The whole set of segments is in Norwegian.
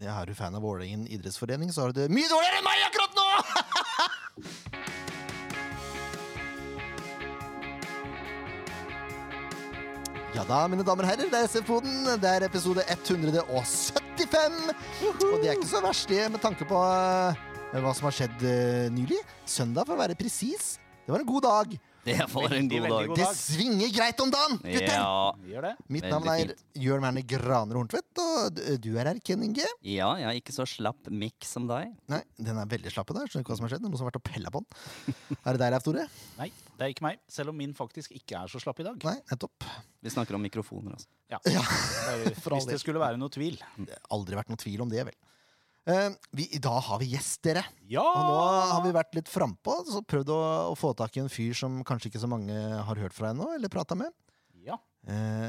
Ja, er du fan av Vålerengen idrettsforening, så har du det mye dårligere enn meg akkurat nå! ja da, mine damer og herrer, det er SF-poden. Det er episode 175. Og det er ikke så verst, det, med tanke på eh, hva som har skjedd eh, nylig. Søndag, for å være presis. Det var en god dag. Det var en Veldig, god veldig dag. god Det dag. svinger greit om dagen, gutter! Ja. Gjør det. Mitt Veldig navn er fint. Jørn Werner Graner Horntvedt, og d- du er her, Ken Inge. ja, jeg er ikke så slapp mikk som deg. Nei, den er veldig slapp i dag. Skjønner ikke hva som har skjedd. Noen som har vært og pella på den. Er det deg, Leif Tore? Nei, det er ikke meg. Selv om min faktisk ikke er så slapp i dag. Nei, nettopp. Vi snakker om mikrofoner, altså. Ja. Bare for all Hvis det del. skulle være noe tvil. Det har aldri vært noen tvil om det, vel. Eh, vi, I dag har vi gjest, dere. Ja! Og nå har vi vært litt frampå og prøvd å, å få tak i en fyr som kanskje ikke så mange har hørt fra ennå, eller prata med. Ja. Eh,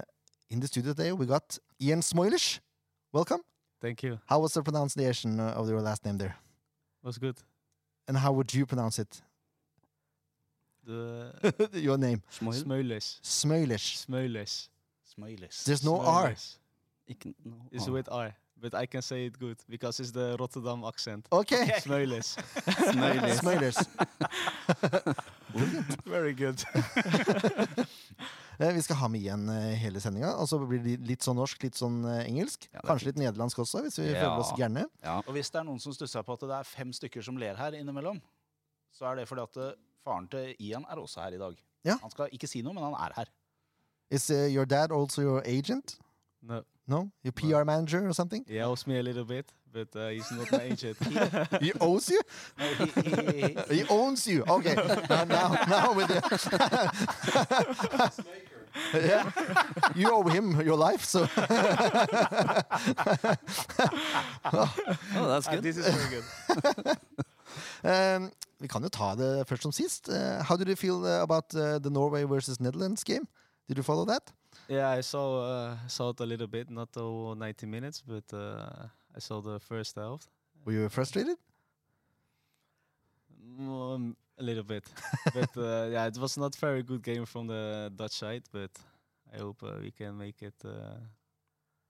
in the studio today we got Ian Smoilish. Welcome. Thank you. How was the pronunciation of your last name there? What's good? And how would you pronounce it? The Your name. Smoil? Smoilish. Smoilish. Smoilish. Smiles. There's no R. Oh. Smoilish. Ikke no, It's ah. with R, but I can say it good because it's the Rotterdam accent. Okay. Smoilish. Smoilish. Smoilish. Very good. Eh, Vi skal ha med igjen eh, hele sendinga. Og så blir det litt sånn norsk, litt sånn eh, engelsk. Ja, det er Kanskje litt nederlandsk også, hvis vi Ja. føler oss gærne. Ja. Og hvis det er noen som stusser på at det er fem stykker som ler her innimellom, så er det fordi at eh, faren til Ian er også her i dag. Ja. Han skal ikke si noe, men han er her. Is eh, your dad also your agent? No, No? Your PR manager or something? he owes me a little bit, but uh, he's not my agent. He owes you? Nei, he- he- he- He owns you! Okay. Now, now, now with the yeah. You owe him your life, so Oh, that's Ah, good. this is very good. um, Vi kan jo ta det først som sist. Eh, how did you feel eh, about eh, the Norway versus Netherlands game? Did you follow that? Yeah, I saw uh, saw it a little bit, not the whole 90 minutes, but uh, I saw the first half. Were you frustrated? Mm, a little bit, but uh, yeah, it was not very good game from the Dutch side. But I hope uh, we can make it uh,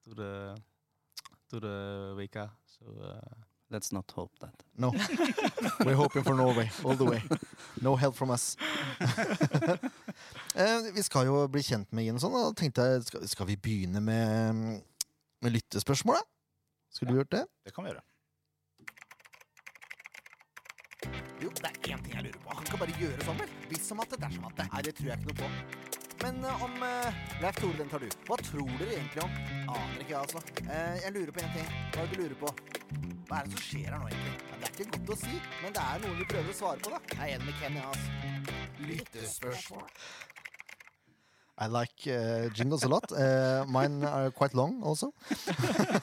to the to the WK. So uh, Let's not hope that. No. We're hoping for Norway all the way. No help from us. Eh, vi skal jo bli kjent med Jensson, og da tenkte jeg skal, skal vi begynne med, mm, med lyttespørsmål, da? Skulle du gjort det? Det kan vi gjøre. Jo, det er én ting jeg lurer på. Han kan bare gjøre sånn, vel? Hvis som at det dersom at det. Nei, det tror jeg ikke noe på. Men eh, om uh, Leif Tore, den tar du. Hva tror dere egentlig om? Aner ikke, jeg, altså. Eh, jeg lurer på én ting. Hva er det du lurer på? Hva er det som skjer her nå, egentlig? Ja, det er ikke godt å si, men det er noe vi prøver å svare på, da. Jeg er enig med Ken, jeg, altså. Lyttespørsmål. I like uh, jingles a lot. Uh, mine are quite long also.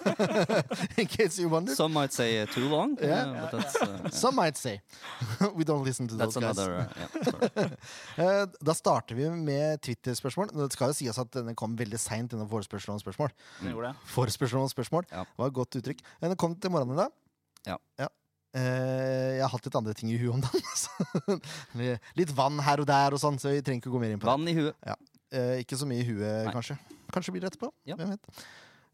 In case you wondered. Some might say uh, too long, Yeah. uh, but that's, uh, yeah. Some might say. We don't listen to those that's guys. another uh, yeah, sorry. Eh, Da starter vi med Twitter-spørsmål. Det skal jo sies at denne kom veldig seint, denne forespørselen om spørsmål. Den gjorde det. Forespørsel om spørsmål. Ja. Det var et godt uttrykk. Eh, Den kom til morgenen i dag. Ja. Eh, jeg har hatt litt andre ting i huet om dagen. så- litt vann her og der og sånn, så vi trenger ikke å gå mer inn på det. Vann i huet. Eh, ikke så mye i huet, Nei. kanskje. Kanskje blir det etterpå. Ja. Hvem vet.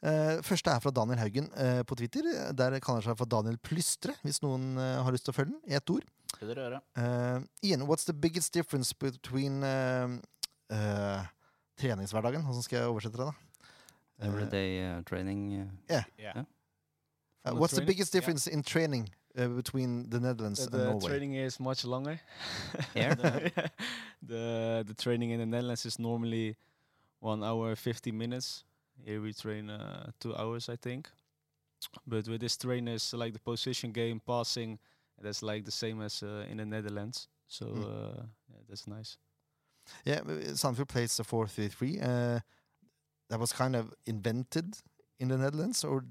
Eh, første er fra Daniel Haugen eh, på Twitter. Der kaller han seg for Daniel Plystre, hvis noen eh, har lyst til å følge den. I ett ord. Skal dere gjøre. Eh, Ian, what's the biggest difference between um, eh, treningshverdagen? Hvordan skal jeg oversette det, da? Eh, Everyday uh, training. Uh, Ja. Ja. uh, From the what's the training? biggest difference in training uh, between the Netherlands Uh, and the Norway? training is much longer. Here? the the training in the Netherlands is normally one hour fifty minutes. Here we train uh, two hours, I think. But with this trainers, like the position game, passing, that's like the same as uh, in the Netherlands. So Mm. uh, yeah, that's nice. Yeah, uh, Sandefjord plays a 4-3-3. Uh, that was kind of invented in the Netherlands, or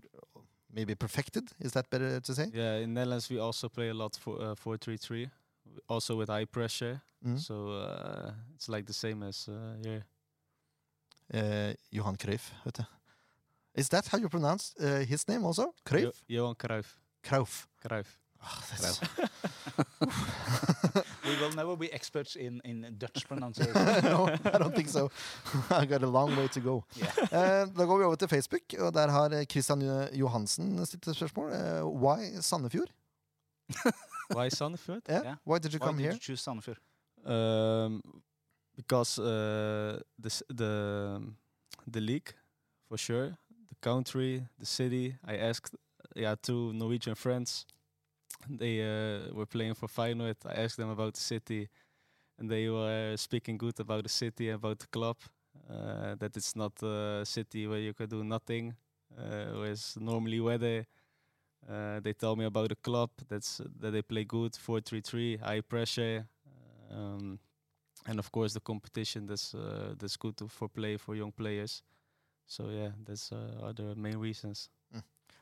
maybe perfected. Is that better to say? Yeah, in Netherlands we also play a lot for uh, four three three, also with high pressure. Mm. So uh, it's like the same as uh, here. Eh, Johan Cruyff, vet du. Is that how you pronounce uh, eh, his name also? Cruyff? Jo- Johan Cruijff. Cruyff. Ah, Cruijff. that's- We will never be experts in, in Dutch pronunciation. no, I don't think so. I got a long way to go. Yeah. Eh, da går vi over til Facebook, og der har eh, Christian Jo- Johansen stilt et spørsmål. Eh, why Sandefjord? Why Sandefjord? Yeah? Yeah. Why did you Why come did here? you choose Sandefjord? Um, because uh, this, the um, the league, for sure, the country, the city. I asked, yeah, two Norwegian friends. They uh, were playing for Feyenoord. I asked them about the city, and they were speaking good about the city, about the club. Uh, that it's not a city where you can do nothing. Uh, whereas normally weather. Uh, they tell me about the club. That's that they play good, four three three, high pressure. Um, and of course the competition that's uh, that's good to, for play for young players. So yeah, that's uh, are the main reasons.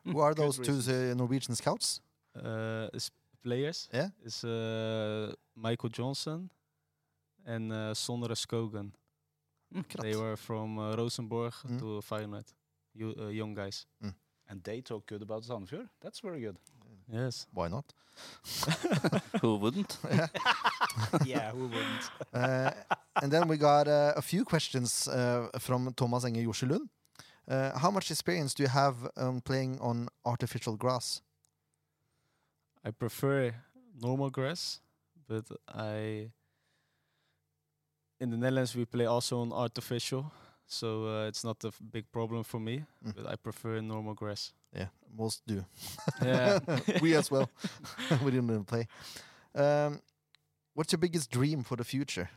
Who are Good those two uh, Norwegian scouts? Uh, is players Yeah. is uh, Michael Johnson and uh, Sondre Skogen. They Akkurat. were from uh, Rosenborg Mm. to Feyenoord, you, uh, young guys. And they talk good about Sandefjord? That's very good. Yes. Why not? Who wouldn't? yeah, who wouldn't? Uh, and then we got uh, a few questions uh, from Thomas Enge Jorselund. Uh, how much experience do you have um, playing on artificial grass? I prefer normal grass, but I in the Netherlands we play also on artificial, so uh, it's not a f- big problem for me. Mm. But I prefer normal grass. Yeah, most do. yeah, we as well. we didn't even play. Um, what's your biggest dream for the future?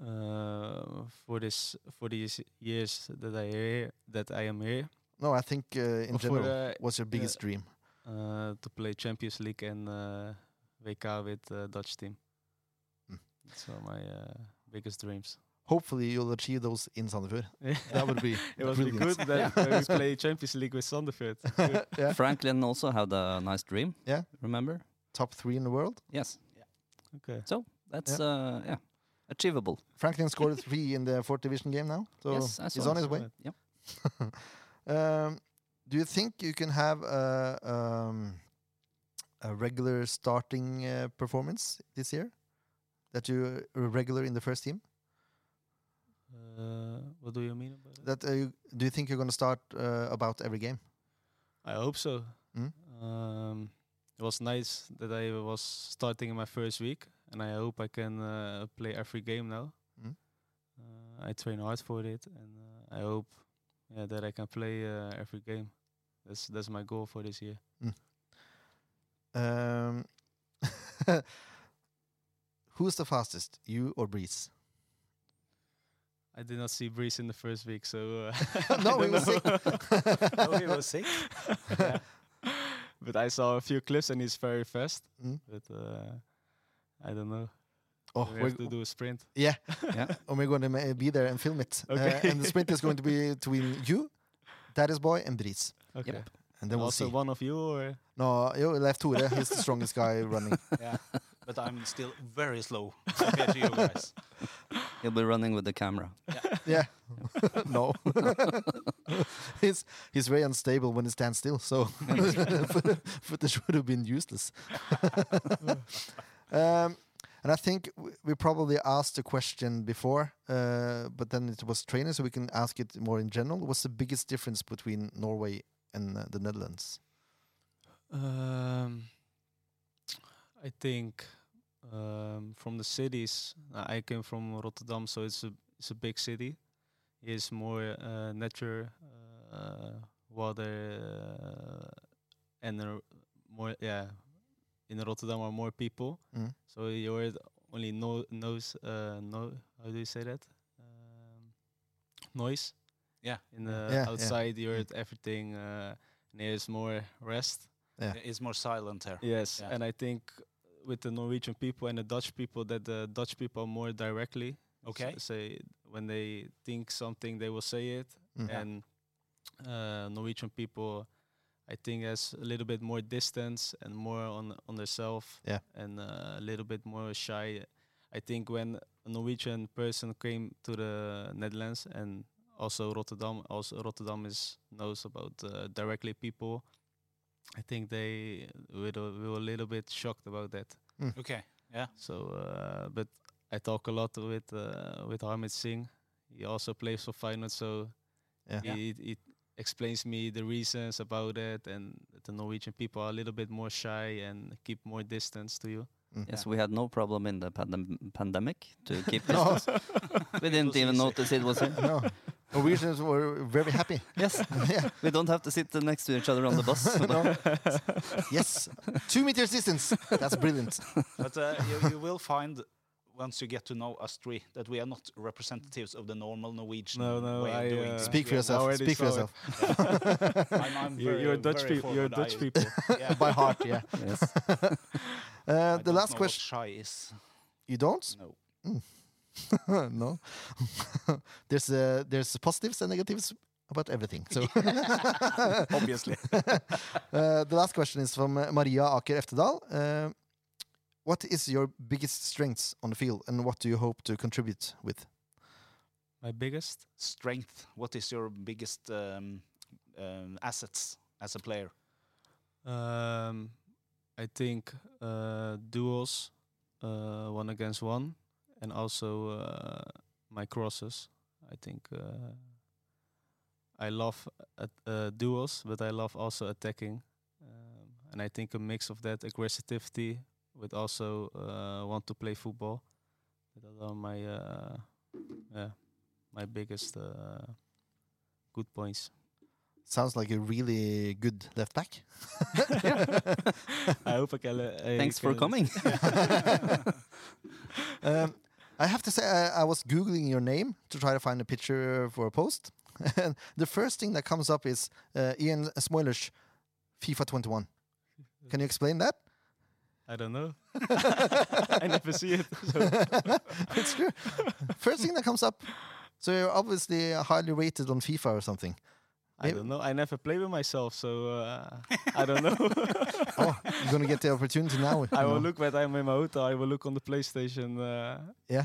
uh, for this for these years that I here, that I am here, No, I think uh, in or for general, uh, what's your biggest dream? uh, to play Champions League and uh, WK with uh, Dutch team. Mm. That's one of my uh, biggest dreams. Hopefully, you'll achieve those in Sandefjord. That would be it was be good brilliant. that when we play Champions League with Sandefjord. yeah, Franklin also had a nice dream. Yeah. Remember? top three in the world. Yes. Okay. So that's uh, yeah, achievable. Franklin scored three in the fourth division game now, so Yes, I he's saw on it. his way. Yep. um, do you think you can have a, um, a regular starting uh, performance this year? That you are regular in the first team? Uh, what do you mean about that? That uh, you, do you think you're going to start uh, about every game? I hope so. Mm. Um, it was nice that I was starting in my first week, and I hope I can uh, play every game now. Mm. Uh, I train hard for it, and uh, I hope yeah, that I can play uh, every game. That's that's my goal for this year. Um, who's the fastest, you or Breeze? I did not see Breeze in the first week, so uh, I no, we don't will see. know. Oh, he was sick? Yeah. but I saw a few clips, and he's very fast. Mm. But uh, I don't know. Oh, we we're, have to do a sprint. yeah, Yeah. and we're going to ma- be there and film it. Uh, Okay. and the sprint is going to be between you, Daddy's boy, and Breeze. Okay. And then we'll also see. one of you or No, jo, Leif Tore, he's the strongest guy running. Yeah. But I'm still very slow compared to you guys. He'll be running with the camera. Yeah. no. he's he's very unstable when he stands still, so footage would have been useless. um, and I think we, we probably asked the question before, uh, but then it was training, so we can ask it more in general. What's the biggest difference between Norway and uh, the Netherlands? um i think um from the cities uh, i came from rotterdam so it's a it's a big city it's more uh, nature uh, water uh, and there are more yeah in rotterdam are more people Mm. so you're only no knows uh no how do you say that um, noise Yeah. in the Yeah, yeah. outside you Mm. heard everything uh and there's more rest It's more silent here. Yes, Yeah. and I think with the Norwegian people and the Dutch people, that the Dutch people are more directly. s- Okay. say when they think something, they will say it, Mm. Yeah. and uh, Norwegian people, I think, has a little bit more distance and more on on themselves. Yeah. and uh, a little bit more shy. I think when a Norwegian person came to the Netherlands and also Rotterdam, also Rotterdam is knows about uh, directly people I think they were, we were a little bit shocked about that. Ok. So, uh, but I talk a lot with uh, with Harmit Singh. He also plays for Feyenoord, so Yeah. he, he he explains me the reasons about it, and the Norwegian people are a little bit more shy and keep more distance to you. Yes, we had no problem in the pandem- pandemic to keep No. distance. we didn't even notice it was him. No. Norwegians were very happy. Yes, yeah. we don't have to sit uh, next to each other on the bus. so No. Yes. Two meters distance. That's brilliant. But uh, you, you will find, once you get to know us three, that we are not representatives of the normal Norwegian No, no, way of I, doing uh, things. Speak for Yeah. yourself. already Speak for saw it. yourself. I'm, I'm You, very, you're Dutch very people. You're forward. Dutch I- people. yeah. By heart, yeah. yes. Uh, I the don't last know what question. shy is. You don't? No. no. there's uh, there's positives and negatives about everything. So Obviously. uh, the last question is from uh, Maria Aker Eftedal. Uh, what is your biggest strengths on the field, and what do you hope to contribute with? My biggest Strength. What is your biggest um, um, assets as a player? Um, I think uh, duels, uh, one against one, and also uh, my crosses. I think uh, I love at, uh, duels, but I love also attacking, um, and I think a mix of that aggressivity with also uh, want to play football. That are my uh, yeah, my biggest uh, good points. Sounds like a really good left back. I hope I can. uh, I Thanks for can- coming. um, I have to say, I, I was googling your name to try to find a picture for a post, and the first thing that comes up is uh, Ian Smoilers, FIFA 21. Can you explain that? I don't know. I never see it. So it's true. First thing that comes up. So you're obviously highly rated on FIFA or something. I Maybe- don't know. I never play with myself, so uh, I don't know. Oh, you're gonna get the opportunity now. you I will know. look when I'm in my hotel. I will look on the PlayStation. Uh, oh, Yeah,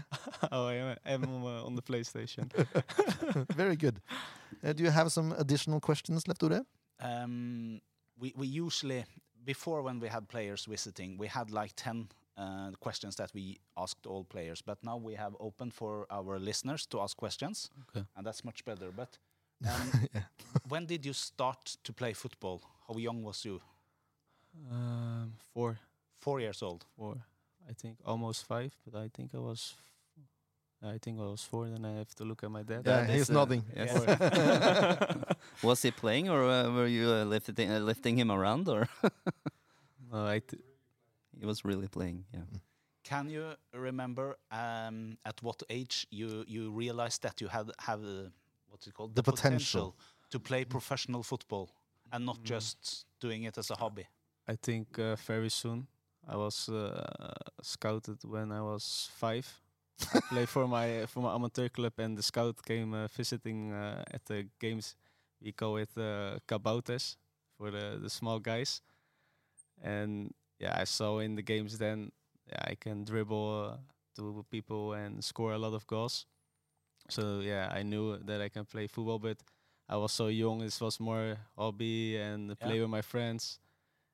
how I am, am on, uh, on the PlayStation. very good. Uh, do you have some additional questions left, Ore? Um, we, we usually, before when we had players visiting, we had like 10 uh, questions that we asked all players. But now we have open for our listeners to ask questions. Okay. And that's much better. But um, when did you start to play football? How young was you? Um, four, Four years old. four. I think almost five, but I think I was. I think I was four. Then I have to look at my dad. Yeah, I he's guess, uh, nodding. Yes. was he playing, or uh, were you uh, lifting uh, lifting him around, or No, I th- he was really playing? Yeah. Can you remember um, at what age you, you realized that you had have uh, what's it called The potential. Mm. to play professional football and not just doing it as a hobby? I think uh, very soon. I was uh, scouted when I was five. I played for my for my amateur club, and the scout came uh, visiting uh, at the games. We call it uh, kabouters for the the small guys. And yeah, I saw in the games then yeah, I can dribble uh, to people and score a lot of goals. So yeah, I knew that I can play football, but I was so young. This was more hobby and play with my friends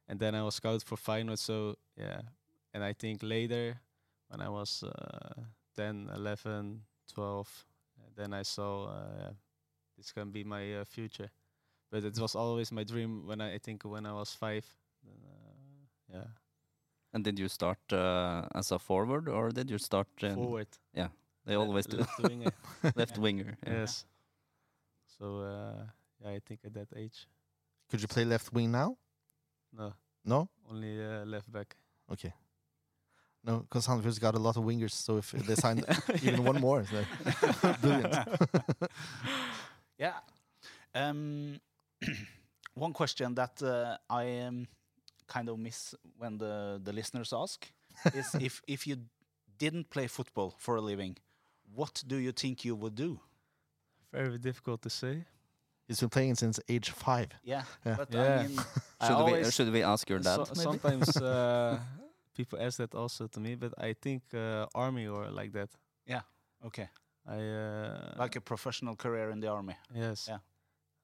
and then I was scouted for Feyenoord. So yeah, and I think later when I was uh, 10, 11, 12, uh, then I saw uh, this can be my uh, future. But it was always my dream when I, I think when I was five. Uh, yeah, And did you start uh, as a forward, or did you start? in- forward. They always do Left wing, uh, left winger. yeah. yes. So uh, yeah, I think at that age, Could you play left wing now? no, No. only uh, left back. Okay. No, because Sandefjord's got a lot of wingers, so if they signed even one more, it's like brilliant. Yeah. Um, one question that uh, I um, kind of miss when the, the listeners ask is if, if you didn't play football for a living, what do you think you would do? Very difficult to say. He's been playing since age five. Yeah, Yeah. but I Yeah. mean, I Should we always- should we ask your dad? So- maybe? sometimes uh, people ask that also to me, but I think uh, army or like that. okay, I uh, like a professional career in the army. yes. yeah.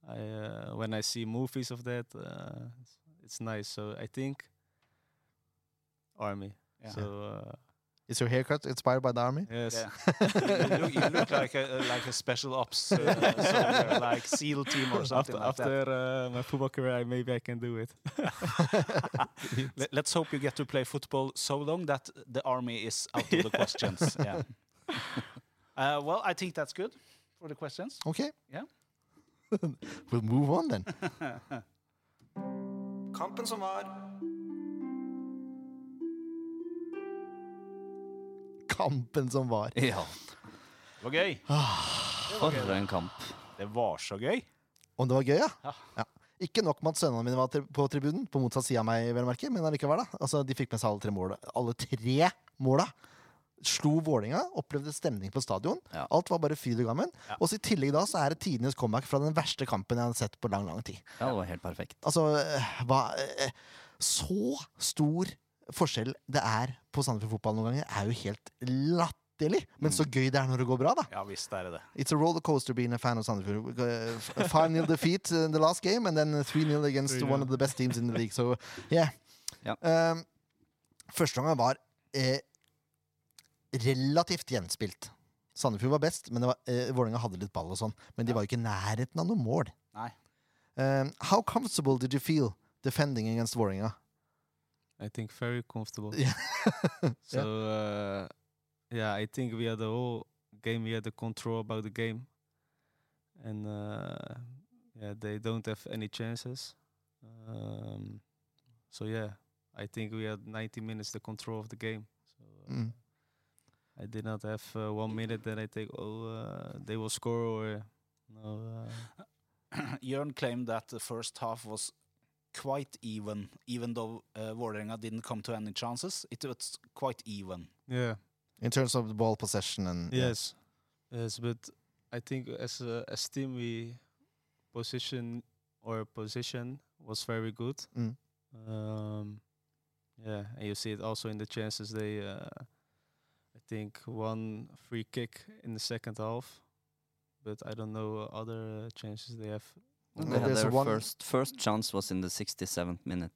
I uh, when I see movies of that, uh, it's- It's nice. So I think army. Yeah. So uh, Is your haircut inspired by the army? yes, Yeah. you, look, you look like a like a special ops uh, soldier, like SEAL team or something after, like that. after uh, my football career, I- maybe I can do it. Let, let's hope you get to play football so long that the army is out of the questions. Yeah. Uh, well, I think that's good for the questions. Okay. Yeah. we'll move on then. Kampen som var Kampen som var. Ja. Det var gøy. For en kamp. Det var så gøy. Om det var gøy, ja? Ja. Ikke nok med at sønnene mine var tri- på tribunen, på motsatt side av meg, vel å merke, men allikevel, da. Altså, de fikk med seg alle tre måla. Alle tre måla. Slo Vålinga, opplevde stemning på stadion. Ja. Alt var bare fryd og gammen. Ja. Og så i tillegg da, så er det tidenes comeback fra den verste kampen jeg har sett på lang, lang tid. Ja, det var helt perfekt. Altså, eh, hva eh, Så stor forskjell det er på Sandefjord fotball noen ganger, er jo helt latterlig. Men så gøy det er når det går bra, da. Ja visst er det det. It's a roller coaster being a fan of Sandefjord. Uh, 5 0 defeat in the last game, and then 3 0 against one of the best teams in the league. So, yeah. Ja. Um, første gangen var eh, relativt gjenspilt. Sandefjord var best, men det var, eh, Vålerenga hadde litt ball og sånn. Men de var jo ikke i nærheten av noe mål. Nei. Um, how comfortable did you feel defending against Vålerenga? I think very comfortable. Yeah. so uh, yeah, I think we had the whole game. We had the control about the game, and uh, yeah, they don't have any chances. Um, so yeah, I think we had 90 minutes the control of the game. So uh, Mm. I did not have uh, one minute that I think oh uh, they will score or no. Uh, Jørn claimed that the first half was quite even, even though uh, Vålerenga didn't come to any chances. It was quite even. yeah. In terms of the ball possession and Yes, yes, but I think as a as team we position or position was very good. Mm. Um, yeah, and you see it also in the chances they. Uh, I think one free kick in the second half, but I don't know uh, other uh, chances they have. Mm. They had There's their one- first, first chance was in the 67th minute.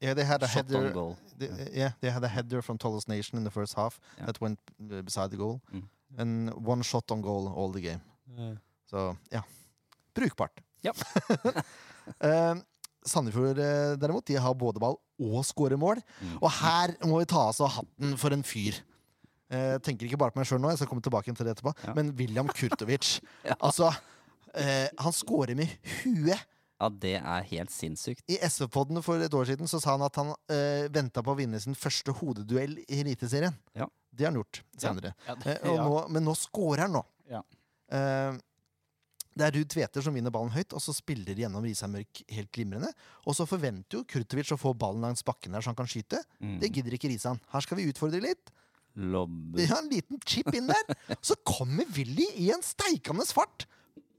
Yeah, they had a Shot on header. goal. They, Yeah. uh, yeah, they had a header from Tollos Nation in the first half Mm. Yeah. that went uh, beside the goal, Mm. and one shot on goal all the game. Yeah. Så ja, brukbart. Yep. Eh, Sandefjord eh, derimot, de har både ball og skårer mål. Mm. Og her må vi ta oss av hatten for en fyr. Eh, tenker ikke bare på meg sjøl nå, jeg skal komme tilbake til det etterpå. Ja. Men William Kurtovic. Ja. Altså, eh, han skårer med huet. Ja, det er helt sinnssykt. I SV-podden for et år siden så sa han at han uh, venta på å vinne sin første hodeduell i Eliteserien. Ja. Det har han gjort senere. Ja, Eh, og nå, men nå scorer han nå. Ja. Eh, det er Ruud Tveter som vinner ballen høyt, og så spiller gjennom Risar Mørk helt glimrende. Og så forventer jo Kurtovic å få ballen langs bakken der så han kan skyte. Mm. Det gidder ikke Risan. Her skal vi utfordre litt. Lobb. Vi har en liten chip inn der. Så kommer Willy i en steikende fart!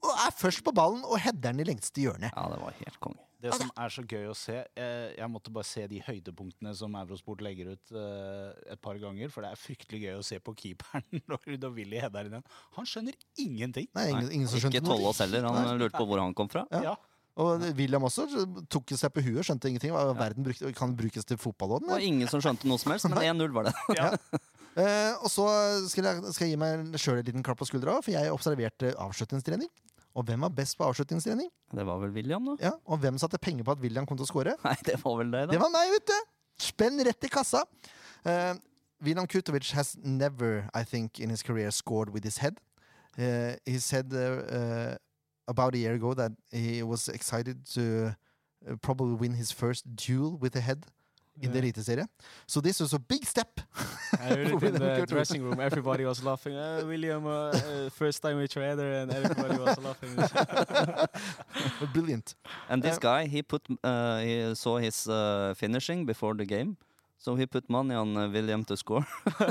Og er først på ballen og header den i lengste hjørnet. Ja, det var helt konge. Det som er så gøy å se eh, Jeg måtte bare se de høydepunktene som Eurosport legger ut eh, et par ganger, for det er fryktelig gøy å se på keeperen når da Willy header inn den. Han skjønner ingenting. Nei, ingen, ingen som skjønte Ikke Tollås heller. Nei. Han lurte på hvor han kom fra. Ja. Og William også tok seg på huet, skjønte ingenting. Hva Verden brukte, kan brukes til fotball også, Det var men. ingen som skjønte noe som helst, men 1-0 var det. Eh, og så skal jeg, skal jeg gi meg sjøl en liten klapp på skuldra, for jeg observerte avslutningstrening. Og hvem var best på avslutningstrening? Det var vel William, da? Ja, og hvem satte penger på at William kom til å score? Nei, det var vel deg, Det da. var meg, vet du! Spenn rett i kassa. Eh, William Kutovic has never, I think, in his career scored with his head. Eh, he said uh, uh, about a year ago that he was excited to uh, probably win his first duel with the head in the Yeah. Eliteserie. So this was a big step. I heard it in William the Kurtovic. dressing room. Everybody was laughing. Uh, William, uh, uh, first time with your header, and everybody was laughing. Brilliant. And this guy, he put uh, he saw his uh, finishing before the game, so he put money on uh, William to score.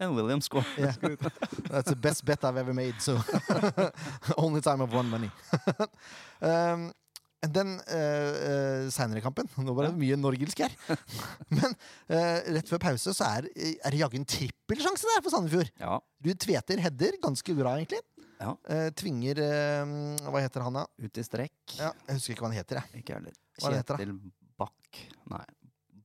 And William scored. Yeah. That's the best bet I've ever made. So only time I've won money. um, and then uh, uh, seinere i kampen Nå var det mye norgilsk her. Men eh, rett før pause så er, er det jaggu en trippelsjanse der for Sandefjord. Ja, Ruud Tveter header ganske bra, egentlig. Ja. eh, tvinger eh, Hva heter han, da? Ut i strekk. Ja, jeg husker ikke hva han heter. Jeg, Ikke heller. Hva heter det? Kjetil Bakk. Nei,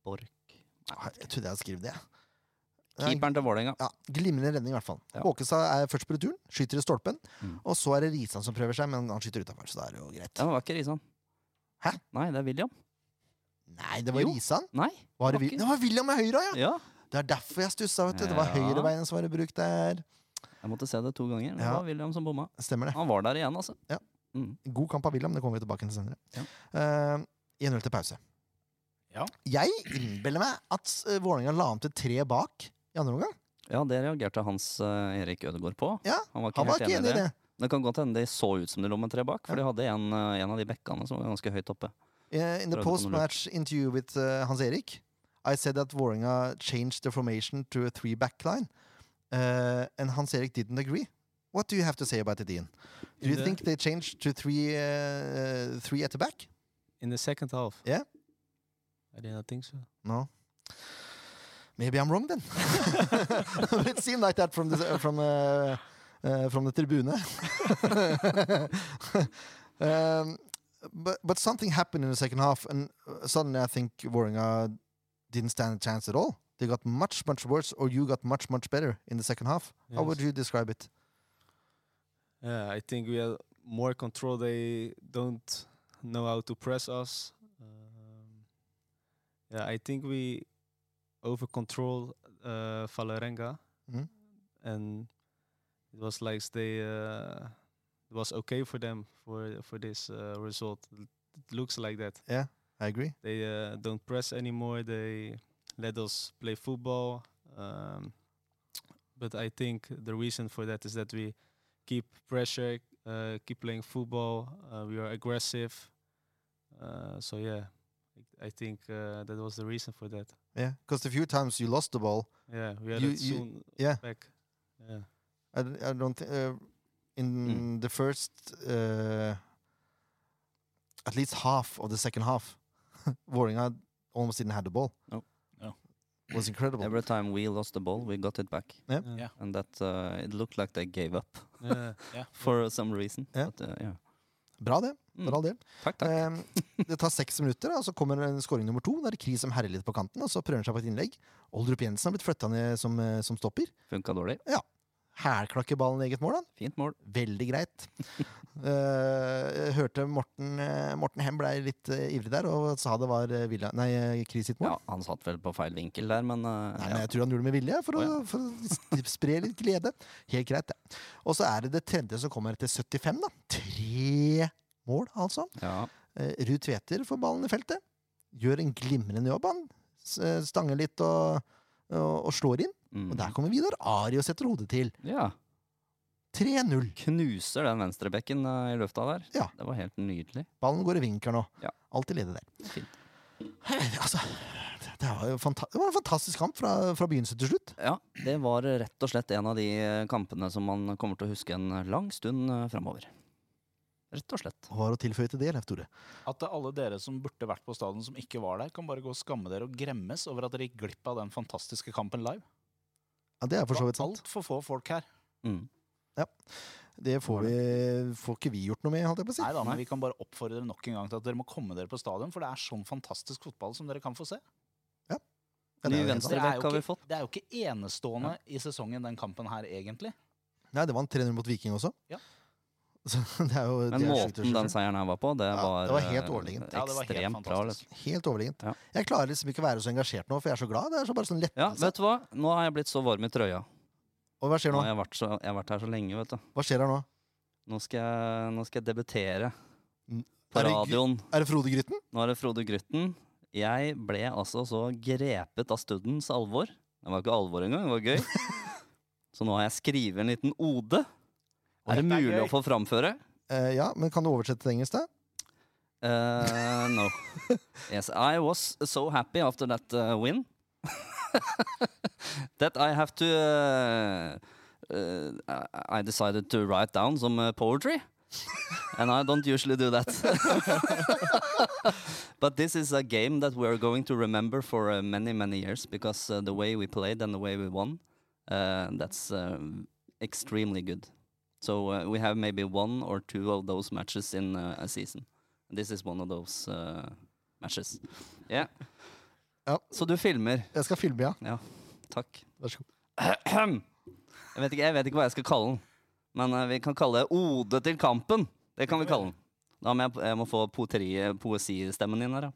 Borch. Nei, Ah, jeg trodde jeg hadde skrevet det. jeg. Keeperen til Vålerenga. Ja, Glimrende redning, i hvert fall. Ja. Håkestad er først på returen, skyter i stolpen. Mm. Og så er det Risan som prøver seg, men han skyter utafor, så da er det jo greit. Ja, men var ikke Risan. Hæ? Nei, det er William. Nei, det var Jo. Risan. Nei. Var det, Var Vil- ikke- det var William med høyre, ja! Ja. Det er derfor jeg stussa, vet du. Det var Ja. høyreveien som var i bruk der. Jeg måtte se det to ganger. Det Ja. var William som bomma. Stemmer det. Han var der igjen, altså. Ja. Mm. God kamp av William, det kommer vi tilbake til senere. Ja. Eh, 1-0 til pause. Ja. Jeg innbiller meg at eh, Vålerenga la om til tre bak i andre omgang. ja, det reagerte Hans eh, Erik Ødegaard på. Ja, han var ikke Han var helt ikke enig i det. Det kan godt hende de så ut som de lå med tre bak, for Ja. de hadde en, eh, en av de bekkene som var ganske høyt oppe. Eh, in the Prøvde på noe post-match interview with uh, Hans Erik, I said that Vålerenga changed the formation to a three-back line, uh, and Hans Erik didn't agree. What do you have to say about it, Ian? Do you Yeah. think they changed to three, uh, uh, three at the back? In the second half? Yeah. I did not think so. No. Maybe I'm wrong then. but it seemed like that from the uh, from uh, uh, from the tribune. um, but but something happened in the second half, and uh, suddenly I think Waringa didn't stand a chance at all. They got much much worse, or you got much much better in the second half. How Yes. would you describe it? Yeah, I think we have more control. They don't know how to press us. Um, yeah, I think we over control uh, Valerenga, Mhm. and it was like they uh, it was okay for them for for this uh, result. L- It looks like that I agree. they uh, don't press anymore. They let us play football. Um, but I think the reason for that is that we keep pressure, uh, keep playing football. Uh, we are aggressive. Uh, so yeah, I, I think uh, that was the reason for that. Yeah, because the few times you lost the ball, Yeah, we had You- it you- soon yeah. back. Yeah. I, d- I don't think uh, Mm. in the first uh, at least half of the second half, Waringa almost didn't have the ball. No. No. It was incredible. Every time we lost the ball, we got it back. Yep. Yeah. Yeah. And that uh, it looked like they gave up yeah. for some reason. Ja. But, uh, yeah. Bra det, for all mm. del. Takk, takk. Um, det tar seks minutter, da, og så kommer en scoring nummer to. Der Kri som herrer litt på kanten, og så prøver han seg på et innlegg. Oldrup Jensen har blitt flytta ned som, eh, som stopper. Funka dårlig. Hælklakker ballen i eget mål, da. Fint mål. Veldig greit. Eh, jeg hørte Morten, eh, Morten Hem ble litt eh, ivrig der og sa det var uh, Villa, nei, eh, Kri sitt mål. Ja, han satt vel på feil vinkel der, men uh, Nei, ja. men jeg tror han gjorde det med vilje, for, Å, å, for å s- spre litt glede. Helt greit, det. Og så er det det tredje som kommer etter 75, da. Tre mål, altså. Ja. Eh, Ruud Tveter får ballen i feltet. Gjør en glimrende jobb, han. S- eh, Stanger litt og, og, og slår inn. Mm. Og der kommer Vidar Ari og setter hodet til. ja. 3-0. Knuser den venstrebekken uh, i lufta der. Ja. Det var helt nydelig. Ballen går i vinkel nå. Ja. Alltid ledig der. Fint. Hei, altså, det- det, var jo fanta det var en fantastisk kamp fra, fra begynnelse til slutt. Ja, det var eh, rett og slett en av de eh, kampene som man kommer til å huske en lang stund eh, framover. Rett og slett. Hva har å tilføye til det, Leif Tore? At det er alle dere som burde vært på stadion, som ikke var der, kan bare gå og skamme dere og gremmes over at dere gikk glipp av den fantastiske kampen live. Ja, det er for Det så var vidt sant. Altfor få folk her. Mm. Det får, vi, får ikke vi gjort noe med, holdt jeg på å si. Nei da, Nei. men vi kan bare oppfordre dere nok en gang til at dere må komme dere på stadion, for det er sånn fantastisk fotball som dere kan få se. Ja, det er jo helt sant. Ny Det er venstrebekk jo har vi ikke, fått. det er jo ikke enestående i sesongen, den kampen her, egentlig. Nei, det var en 300 mot Viking også. Ja. Så det er jo Men det er sjukt å måten den skjønne. seieren her var på, det Ja, var, det var helt eh, overlegent. Ja, det var helt Ekstremt bra. fantastisk. Liksom. Helt overlegent. Ja. Jeg klarer liksom ikke å være så engasjert nå, for jeg er så glad. Det er så bare sånn Ja, lettelse. vet du hva? Nå har jeg blitt så varm i trøya. Og hva skjer Nå nå? har jeg vært, så, jeg har vært her så lenge, vet du. Hva skjer her nå? Nå skal jeg, nå skal jeg debutere Mm. Er på det gru- radioen. Er det Frode Grytten? Nå er det Frode Grytten. Jeg ble altså så grepet av stundens alvor. Det var ikke alvor engang, det var gøy. Så nå har jeg skrevet en liten ode. Oi, Er det det er mulig gøy. å få framføre? Eh, ja, men kan du oversette til engelsk, da? Eh, no. Yes, I was so happy after that uh, win that I have to uh, uh, I- I decided to write down some uh, poetry. And I don't usually do that. but this is a game that we're going to remember for uh, many, many years because uh, the way we played and the way we won, uh, that's um eh, extremely good. So uh, we have maybe one or two of those matches in uh, a season. This is one of those uh, matches. Yeah. Ja. Så du filmer. Jeg skal filme, ja. Takk. Vær så god. Jeg vet, ikke, jeg vet ikke hva jeg skal kalle den, men eh, vi kan kalle det Ode til kampen. Det kan vi kalle den. Da må jeg, jeg må få poteri- poesistemmen din her, da.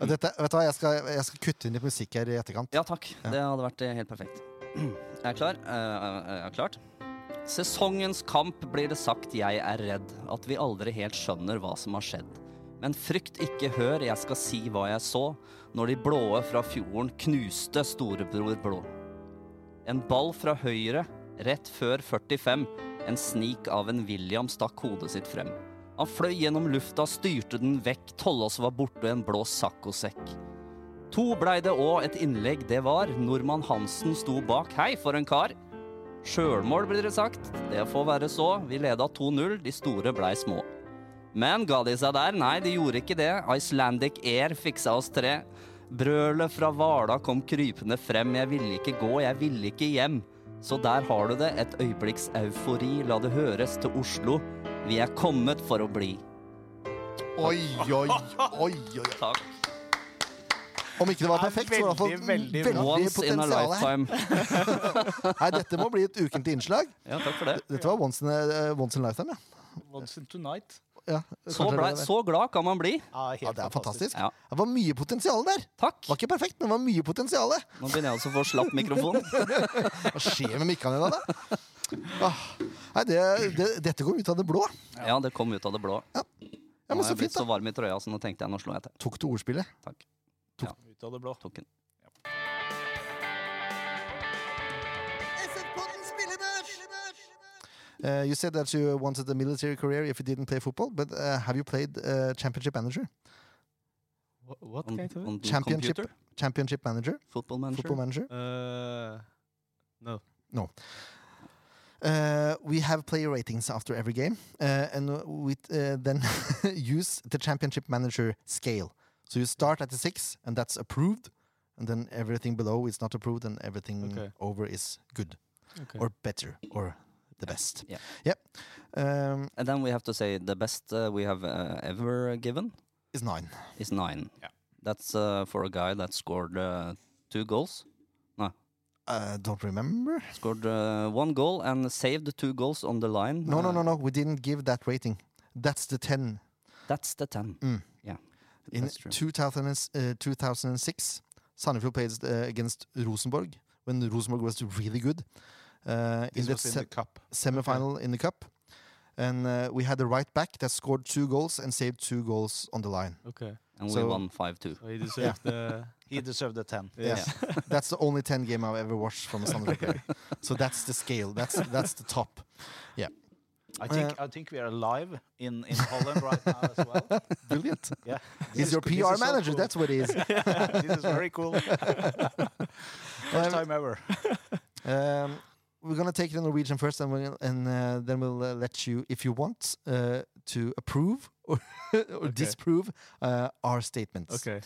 Og Dette, vet du hva, jeg skal, jeg skal kutte inn litt musikk her i etterkant. Ja takk. Det hadde vært eh, helt perfekt. Jeg er klar. Eh, Jeg er klart. Sesongens kamp blir det sagt jeg er redd, at vi aldri helt skjønner hva som har skjedd. Men frykt ikke, hør, jeg skal si hva jeg så, når de blåe fra fjorden knuste storebror blå. En ball fra høyre, rett før 45, en snik av en William stakk hodet sitt frem. Han fløy gjennom lufta, styrte den vekk, Tollås var borte, en blå saccosekk. To blei det òg et innlegg, det var. Nordmann Hansen sto bak. Hei, for en kar! Sjølmål, blir det sagt. Det får være så. Vi leda 2-0, de store blei små. Men ga de seg der? Nei, de gjorde ikke det. Icelandic Air fiksa oss tre. Brølet fra Hvala kom krypende frem. Jeg ville ikke gå, jeg ville ikke hjem. Så der har du det, et øyeblikks eufori. La det høres til Oslo. Vi er kommet for å bli. Oi, oi, oi, oi. Takk. Om ikke det var Det er perfekt, så var det i hvert fall veldig, veldig veldig, bra. Once in a potensial her. lifetime. Nei, dette må bli et ukentlig innslag. Ja, takk for det. Dette var once in a, eh, once in a lifetime, ja. Once in tonight. ja Så, kanskje det, blei- er det. så glad kan man bli. Ja, helt ja, det er fantastisk. Ja. Det var mye potensial der. Takk. Det var ikke perfekt, men det var mye potensial. Nå begynner jeg også å få slapp mikrofon. Hva skjer med mikkene dine, da? Ah, Nei, det, det, dette kom ut av det blå. Ja, det kom ut av det blå. Ja, Nå men har så jeg fint, blitt så da. varm i trøya, så nå tenkte jeg nå slår jeg til. Tok du ordspillet? Ut av det blå. Tok den. Uh, you said that you wanted a military career if you didn't play football, but uh, have you played uh, championship manager? What, what On, kind of? on the Championship. computer. Championship manager? Football manager. Football manager? Uh, Uh, we have player ratings after every game, uh, and we uh, then use the championship manager scale. So you start at the six, and that's approved, and then everything below is not approved, and everything Okay. over is good okay. or better or the best. Yeah. Yep. Um, And then we have to say the best uh, we have uh, ever given is nine. is nine. Yeah. That's uh, for a guy that scored uh, two goals. Uh, don't remember. Scored uh, one goal and saved two goals on the line. No, no, Uh, no, no. We didn't give that rating. That's the ten. That's the ten. Mm. Yeah. In That's true. 2000 and, s- uh, 2006, Sandefjord played uh, against Rosenborg when Rosenborg was really good. Uh, in This the, was in se- the cup. semifinal in the cup. And uh, we had a right back that scored two goals and saved two goals on the line. okay. And we so- won five two. So he deserved the. He deserved a 10. Yes. That's the only 10 game I've ever watched from a Sandefjord player. So that's the scale. That's that's the top. I think I think we are alive in in Holland right now as well. Brilliant. Yeah. He's your this PR is so manager. cool. That's what he is. this is very cool. First time ever. Um, we're gonna take the Norwegian first, and we'll, and uh, then we'll uh, let you, if you want, uh, to approve or, or disprove uh, our statements. okay.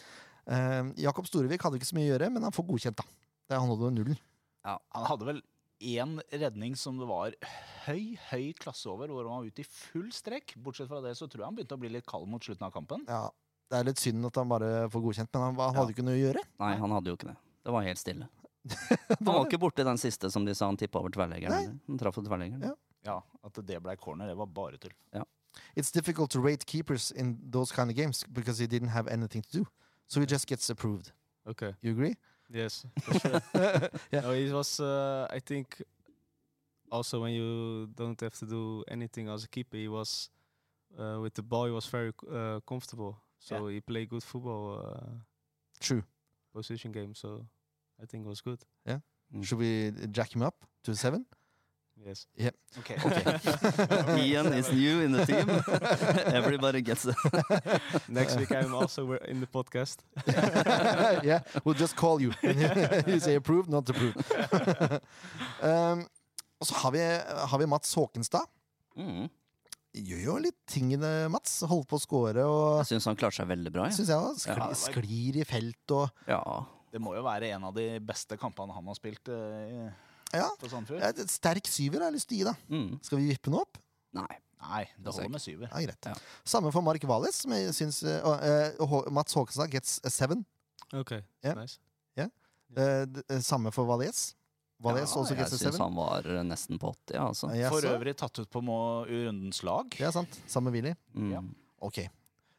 Um, Jakob Storevik hadde ikke så mye å gjøre, men han får godkjent, da. Det er han holder nullen. Han Ah. hadde vel én redning som det var høy, høy klasse over, hvor han var ute i full strekk. Bortsett fra det så tror jeg han begynte å bli litt kald mot slutten av kampen. Ja, det er litt synd at han bare får godkjent, men han, han hadde ikke noe å gjøre. Nei, han hadde jo ikke det. Det var helt stille. Han var ikke borti den siste som de sa han tippa over Nei. tverrleggeren. Han traff tverrleggeren. Ja. Ja, At det ble corner, det var bare tull. It's difficult to rate keepers in those kind of games because he didn't have anything to do. So he just gets approved. Okay. You agree? Yes. For sure. yeah. No, it was. Uh, I think. Also, when you don't have to do anything as a keeper, he was uh, with the ball. He was very c- uh, comfortable, so he played good football uh, True. position game. So I think it was good. Mm. Should we uh, jack him up to seven? Yes. Ok, Ian is new in the team. Everybody gets a Next week I'm also wer- in the podcast. yeah, we'll just call you. And you say approved, not approved. um, og så har vi, har vi Mats Håkenstad. mm. Gjør jo litt tingene, Mats. Holder på å score og Jeg syns han klarte seg veldig bra. Jeg. synes jeg, også, Ja, skli, det sklir i felt og Ja. Det må jo være en av de beste kampene han har spilt eh, Ja. på Sandefjord? Et et sterk syver har jeg lyst til å gi, da. Mm. Skal vi vippe den opp? Nei. Nei, det Altså, holder med syver. Ja, greit. Ja. Samme for Mark Wallis, som jeg syns eh, og, eh, og Hå- Mats Håkenstad gets a seven. Okay, Yeah. nice. Eh, d- eh, samme for Wallis. Wallis også jeg gets a syns seven. han var eh, nesten på 80, ja, altså. Ja, For så. øvrig tatt ut på må rundens lag. Det er sant. Samme Willy. Mm. Ja. Ok.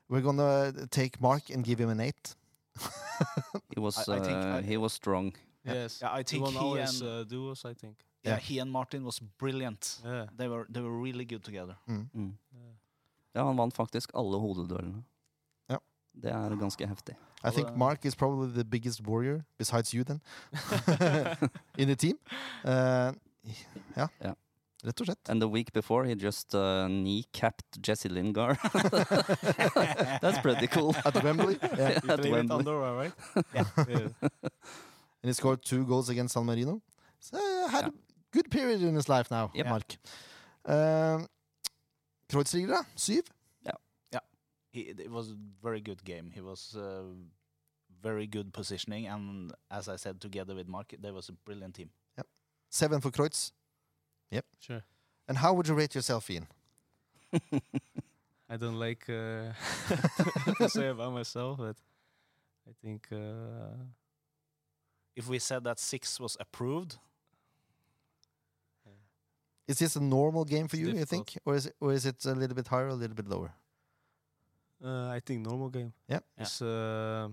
We're gonna take Mark and give him an eight. He, was, I- I think uh, I- he was strong. Yes. Yeah, I You think won he always, and uh, duos. I think. yeah, he and Martin was brilliant. Yeah. They were they were really good together. Mm. Yeah. Ja, han vant faktisk alle hodeduellene. Ja. Det er ganske heftig. I think Mark is probably the biggest warrior, besides you, then, in the team. Eh, ja. Ja. Rett og slett. And the week before he just uh, kneecapped Jesse Lingard. That's pretty cool. At Wembley. Yeah. You At played with Wembley. Andorra, right? Yeah. yeah. And he scored two goals against San Marino. So uh, had a good period in his life now, Yep. Mark. Um, Kreuzriger, da? Syv? He, it was a very good game. He was uh, very good positioning, and as I said, together with Mark, they was a brilliant team. Seven for Kreutz. Sure. And how would you rate yourself, Ian? I don't like uh, to say about myself, but I think uh, If we said that six was approved, Is this a normal game for It's you, you difficult. think? Or is, it, or is it a little bit higher or a little bit lower? uh, I think normal game. Yep. Yeah. It's, uh,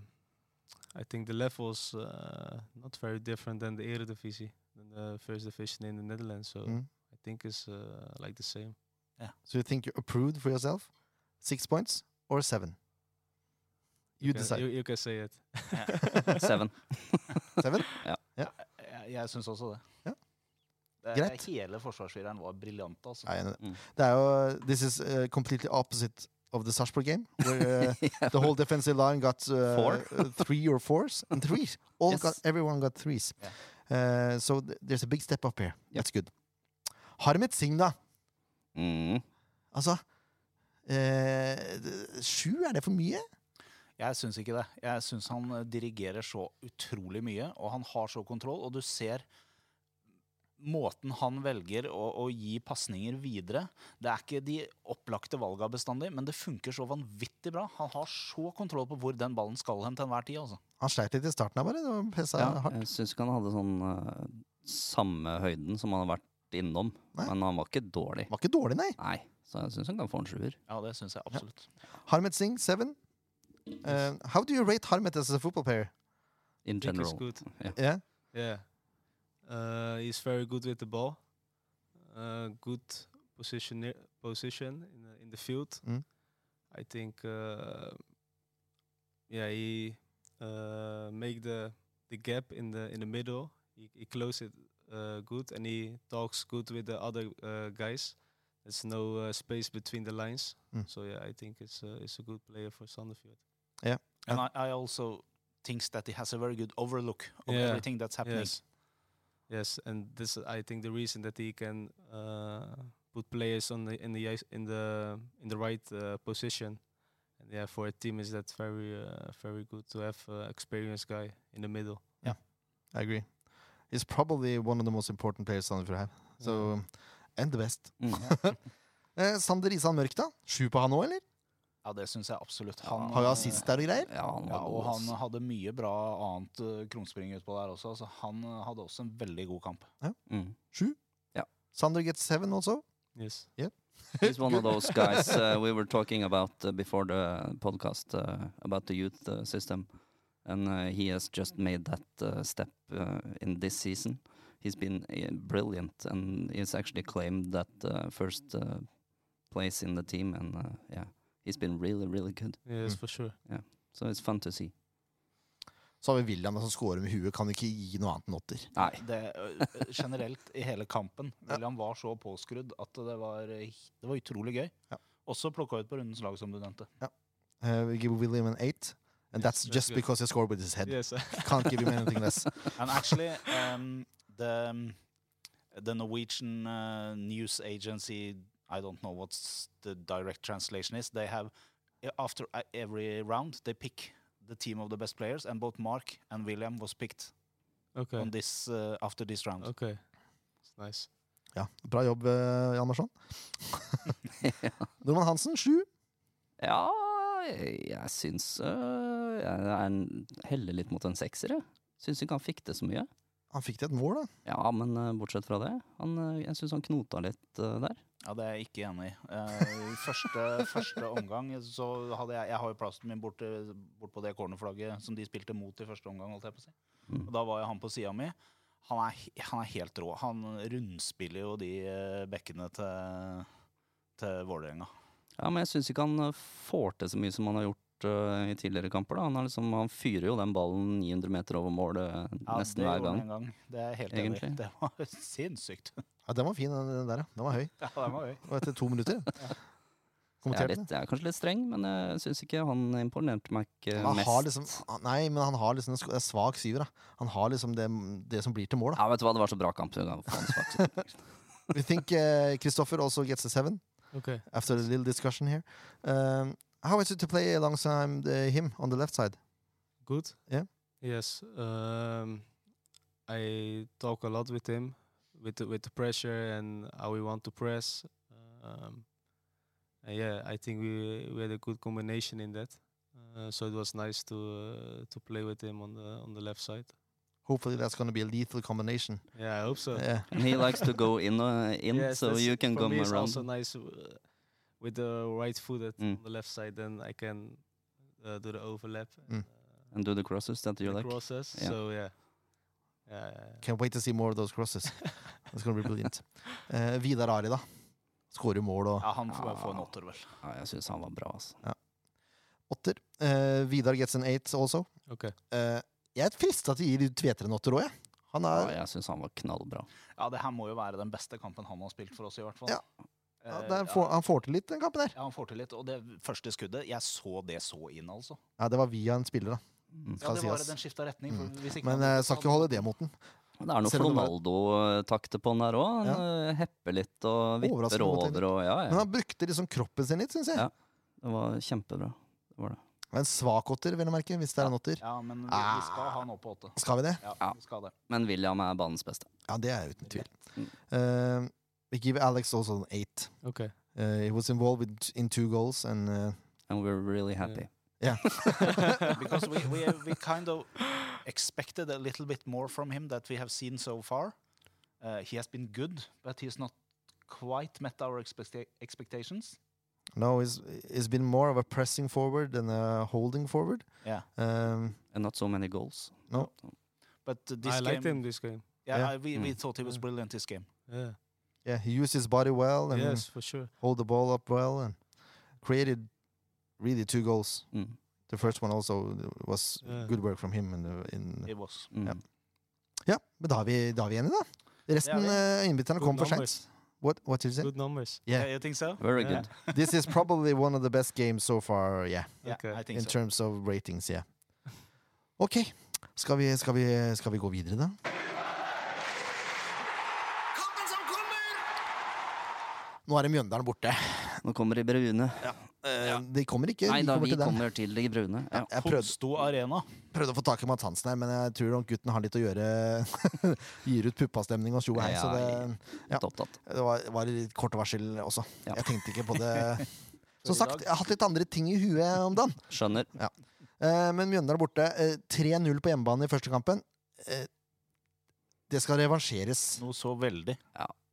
I think the levels uh, not very different than the Eredivisie, than the first division in the Netherlands. So Mm. I think it's uh, like the same. So you think you're approved for yourself? Six points or seven? You can, decide. You, you can say it. Seven. Seven? jeg, uh, jeg syns også det. Ja. Det- Greit. Hele forsvarsfireren var briljant, altså. Nei, nei. Mm. Det er jo This is uh, completely opposite of the Sarpsborg game, where uh, Yeah. the whole defensive line got uh, Four? uh, three or fours and threes. All Yes. got everyone got threes. Yeah. Uh, so th- there's a big step up here. That's good. Harmet Singh, da. Mm. Altså eh, d- Sju, er det for mye? Jeg syns ikke det. Jeg syns han eh, dirigerer så utrolig mye, og han har så kontroll. Og du ser måten han velger å, å gi pasninger videre. Det er ikke de opplagte valga bestandig, men det funker så vanvittig bra. Han har så kontroll på hvor den ballen skal hen til enhver tid. Altså. Han sleit litt i starten, her bare. Det var pressa Ja, hardt. jeg syns ikke han hadde sånn eh, samme høyden som han har vært innom. Nei. Men han var ikke dårlig. Var ikke dårlig, nei. Nei, så jeg syns han kan få en sjuer. Ja, det syns jeg absolutt. Harmet Singh, seven. Uh, how do you rate Harmet as a football player? In I think it's general. good. Ja. Yeah? Yeah. Uh, he's very good with the ball. Uh, good position position in the, in the field. Mm. I think uh, yeah, he uh, make the the gap in the in the middle. He, he close it uh, good and he talks good with the other uh, guys. There's no uh, space between the lines. Mm. So yeah, I think it's uh, it's a good player for Sandefjord. And I, I also thinks that he has a very good overlook of Yeah. everything that's happening. Yes. Yes, and this I think the reason that he can uh, put players on the in the ice- in the in the right uh, position, and yeah, for a team is that very uh, very good to have uh, experienced guy in the middle. I agree. He's probably one of the most important players Sandefjord have. So, um, and the best. Mm. Eh, Sander Isan Mørk, da? Sju på han òg, eller? Ja, det syns jeg absolutt. Ja. Har jo assist der og greier. Ja, han Ja, var og god. han ass. hadde mye bra annet eh, krumspring utpå der også. Så han eh, hadde også en veldig god kamp. Mm. Sju. Ja. Sander gets seven also. Yes. He's one of those guys uh, we were talking about uh, before the podcast uh, about the youth uh, system, and uh, he has just made that uh, step uh, in this season. He's been uh, brilliant, and he's actually claimed that uh, first uh, place in the team. And uh, yeah, he's been really, really good. Yes, Mm. for sure. So it's fun to see. Så har vi William da, som scorer med huet. Kan ikke gi noe annet enn åtter. Nei, Det, eh, generelt i hele kampen. William var så påskrudd at det var, eh, det var utrolig gøy. Ja. Også plukka ut på rundens lag, som du nevnte. Eh, we give William an eight. And Yes, that's that's just good. because he scored with his head. Yes. Can't give him anything less. And actually, um, the, um, the Norwegian uh, news agency, I don't know what's the direct translation is, they have, eh, after uh, every round, they pick the team of the best players, and both Mark and William was picked okay. on this uh, eh, after this round. Okay. Nice. Ja, Bra jobb, eh, Jan Marsson. Norman Hansen, sju. Ja, jeg syns øh, Jeg er en- heller litt mot en sekser, jeg. Syns ikke han fikk det så mye. Han fikk til et mål, da. Ja, men øh, bortsett fra det. Han, øh, jeg syns han knota litt øh, der. Ja, det er jeg ikke enig i. Eh, i første, første omgang så hadde jeg Jeg har jo plassen min bort, til- bort på det cornerflagget som de spilte mot i første omgang. Holdt jeg på å si. Og da var jo han på sida mi. Han er, he- han er helt rå. Han rundspiller jo de eh, bekkene til, til Vålerenga. Ja, men jeg syns ikke han øh, får til så mye som han har gjort øh, i tidligere kamper. da. Han, har liksom, han fyrer jo den ballen 900 meter over målet øh, Ja, nesten det hver gjorde han gang. en gang. Det er jeg helt enig i. Egentlig. Det var sinnssykt. Ja, Den var fin, den den der. ja. Den var høy. Ja, det var gøy. Og etter to minutter Jeg er, Kommenterte det. litt, jeg er kanskje litt streng, men eh, jeg syns ikke han imponerte meg ikke Han mest. har liksom, han- nei, men han har liksom en sk- en svak syver. Da. Han har liksom det, det som blir til mål. Da. Ja, vet du hva, det var så bra kamp. så det var faen svakt. We think uh, Christopher also gets a seven Okay. after a little discussion here. Um, how is it to play alongside uh, him on the left side? Good. Yeah. Yes. Um, I talk a lot with him, with the, with the pressure and how we want to press. Um, and yeah, I think we we had a good combination in that. Uh, so it was nice to uh, to play with him on the on the left side. Hopefully that's going to be a lethal combination. Yeah, I hope so. Yeah. And he likes to go in, uh, in Yes, so Uh, that's- you can for come me it's around. also nice uh, with the right foot at Mm. on the left side. Then I can uh, do the overlap Mm. and, and do the crosses that you uh, like. crosses. Yeah. So yeah, yeah. yeah, yeah. Can't wait to see more of those crosses. That's going to be brilliant. Uh, Vidar Ari, da. Skårer mål og Ja, han får bare få en åtter, vel. Ja, jeg syns han var bra, altså. åtter. Uh, Vidar gets an eight also. Okay. Uh, jeg er frista til å gi Tveter en åtter òg, jeg. Han Ja, er, jeg syns han var knallbra. Ja, det her må jo være den beste kampen han har spilt for oss, i hvert fall. Ja. ja, Eh, der får, ja. han får til litt, den kampen der. Ja, han får til litt. Og det første skuddet, jeg så det så inn, altså. Ja, Det var via en spiller, da. Skal Mm. Ja, det sies. Mm. var det, den skifta retning. For hvis ikke Men eh, han- jeg skal ikke holde det mot den. Det er noe Selv om det var- Ronaldo-takter på han der òg. Han eh, hepper litt og vipper Overraskende godt, over og ja, Men ja. han brukte liksom kroppen sin litt, syns jeg. Ja. Det var kjempebra. Det var det. Men En svak åtter, vel å merke, hvis det er en åtter. Ja, men vi, vi skal ha han opp på åtte. Skal vi det? Ja, Ja. vi skal det. Men William er banens beste. Ja, det er uten tvil. Mm. Uh, we give Alex also an eight. Okay. Uh, he was involved with, in two goals and uh, And we're really happy. Because we, we, we kind of expected a little bit more from him that we have seen so far. Uh, he has been good, but he's not quite met our expecta expectations. no, it's, it's been more of a pressing forward than a holding forward. Yeah. Um, And not so many goals. No. But uh, this I liked game, him this game. Yeah, Yeah. I- we, we Mm. thought he was Yeah. brilliant this game. Yeah. yeah, he used his body well and yes, for sure. hold the ball up well and created really two goals. Mm. The first one also was Yeah. good work from him. In the, in It was. Mm. Ja. ja, men da er vi, da er vi enige, da. Resten Det uh, innbytterne Good kom for seint. numbers. What, what did you say? Good numbers. Yeah. you think so? Very Yeah. good. This is probably one of the best games so far, yeah. Yeah, Okay. I think In so. terms of ratings, yeah. Ok, skal vi, skal vi, skal vi gå videre, da? Nå er det Mjøndalen borte. Nå kommer de brune. Eh, Uh, De kommer ikke. Nei de da, kommer vi til den. kommer til de brune. Ja. Jeg prøvde, Totsto Arena. prøvde å få tak i Mads Hansen her, men jeg tror nok gutten har litt å gjøre. Gir ut puppastemning og tjo og hei, så det, Ja. Litt opptatt. det var, var litt kort varsel også. Ja. Jeg tenkte ikke på det. i Som sagt, dag- jeg har hatt litt andre ting i huet om dagen. Skjønner. Eh, men Mjøndalen er borte. Eh, 3-0 på hjemmebane i første kampen. Eh, det skal revansjeres. Noe så veldig.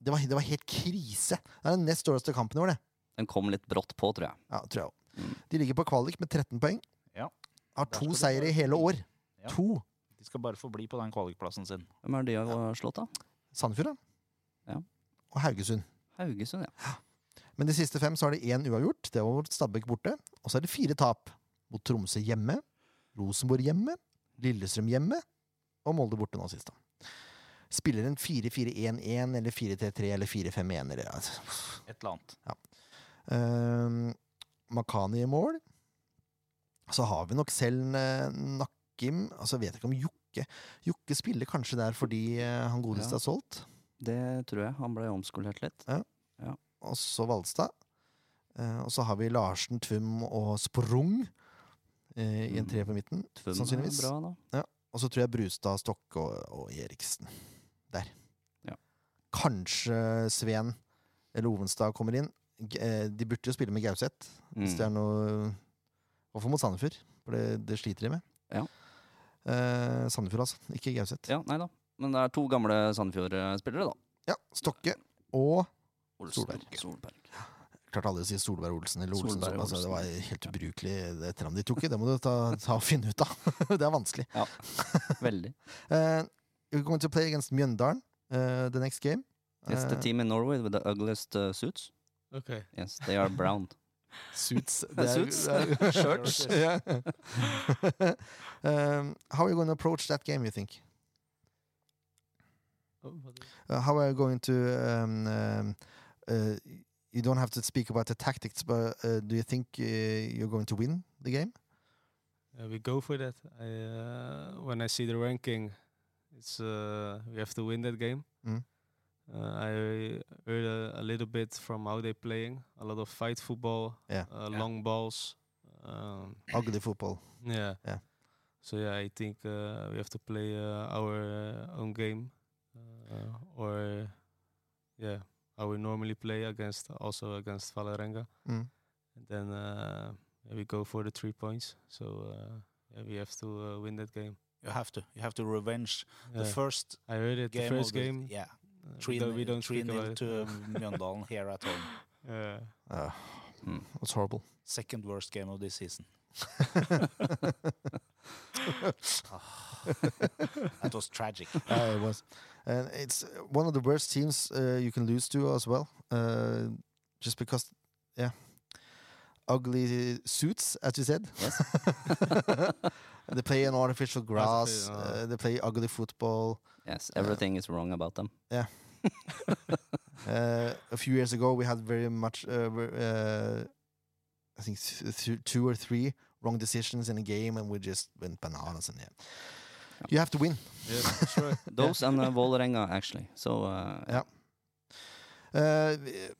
Det var, det var helt krise. Det er den nest dårligste kampen i år, det. Den kom litt brått på, tror jeg. Ja, tror jeg også. Mm. De ligger på kvalik med 13 poeng. Ja. Har Der to skal de seire være. i hele år. Ja. To. De skal bare få bli på den kvalikplassen sin. Hvem er de har slått, da? Sandefjord, da. Ja. Og Haugesund. Haugesund, ja. Men de siste fem så har de én uavgjort. Det var mot Stabæk borte. Og så er det fire tap. Mot Tromsø hjemme, Rosenborg hjemme, Lillestrøm hjemme og Molde borte nå sist. da. Spiller en 4-4-1-1 eller 4-3-3 eller 4-5-1 eller altså. Et eller annet. Ehm, Makani i mål. Så har vi nok selv eh, Nakim Altså vet jeg ikke om Jokke Jokke spiller kanskje der fordi eh, han godeste Ja. er solgt. Det tror jeg. Han ble omskolert litt. Og så Valstad. Eh, og så har vi Larsen, Tvum og Sprung eh, i en Mm. tre på midten. Tvum Sannsynligvis. er bra, da. Og så tror jeg Brustad, Stokke og, og Eriksen. Der. Ja. Kanskje Sveen eller Ovenstad kommer inn. G- eh, De burde jo spille med Gauseth, hvis det Mm. er noe Hvorfor mot Sandefjord? For det, det sliter de med. Ja. Eh, Sandefjord, altså. Ikke Gauseth. Mm. Ja, nei da. Men det er to gamle Sandefjord-spillere, da. Ja, Stokke og Olsen, Solberg. Solberg. Klarte alle å si Solberg Olsen eller Olsen. Solberg Solberg, altså, det Olsen. var helt ubrukelig det etternavnet de tok. i. Det må du ta, ta og finne ut av. det er vanskelig. Veldig. Uh, we're going to play against Mjøndalen uh, the next game. It's the Uh, team in Norway with the ugliest uh, suits. Okay. Yes, they are brown. Suits. Suits. Shirts. yeah. um, how are you going to approach that game, you think? Uh, how are you going to... Um, um, uh, you don't have to speak about the tactics, but uh, do you think uh, you're going to win the game? Yeah, we go for that. I, uh, when I see the ranking, it's uh, we have to win that game. Mm. Uh, I heard a, a little bit from how they're playing. A lot of fight football, Yeah. Uh, Yeah. long balls. Um, Ugly football. yeah. Yeah. So yeah, I think uh, we have to play uh, our uh, own game, uh, or yeah, how we normally play against also against Valerenga. Mm. And then uh, yeah, we go for the three points. So uh, yeah, we have to uh, win that game. You have to. You have to revenge Yeah. the first I heard it. game. the first of the, game. Yeah. uh, we Three, don't- we nil- don't three speak nil about to it. Mjøndalen here at home. Yeah. Uh, Mm. That's horrible. Second worst game of this season. That was tragic. Uh, it was, and it's uh, one of the worst teams uh, you can lose to as well. Uh, just because, yeah, ugly suits, as you said. Yes. they play on artificial grass. uh, Uh, they play ugly football. Yes, everything is wrong about them. Uh, a few years ago, we had very much, uh, ver- uh, I think, th- th- two or three wrong decisions in a game, and we just went bananas. And yeah, you have to win. Yeah, for sure. Those and uh, Vålerenga, actually. So uh, Ja. Eh, vi-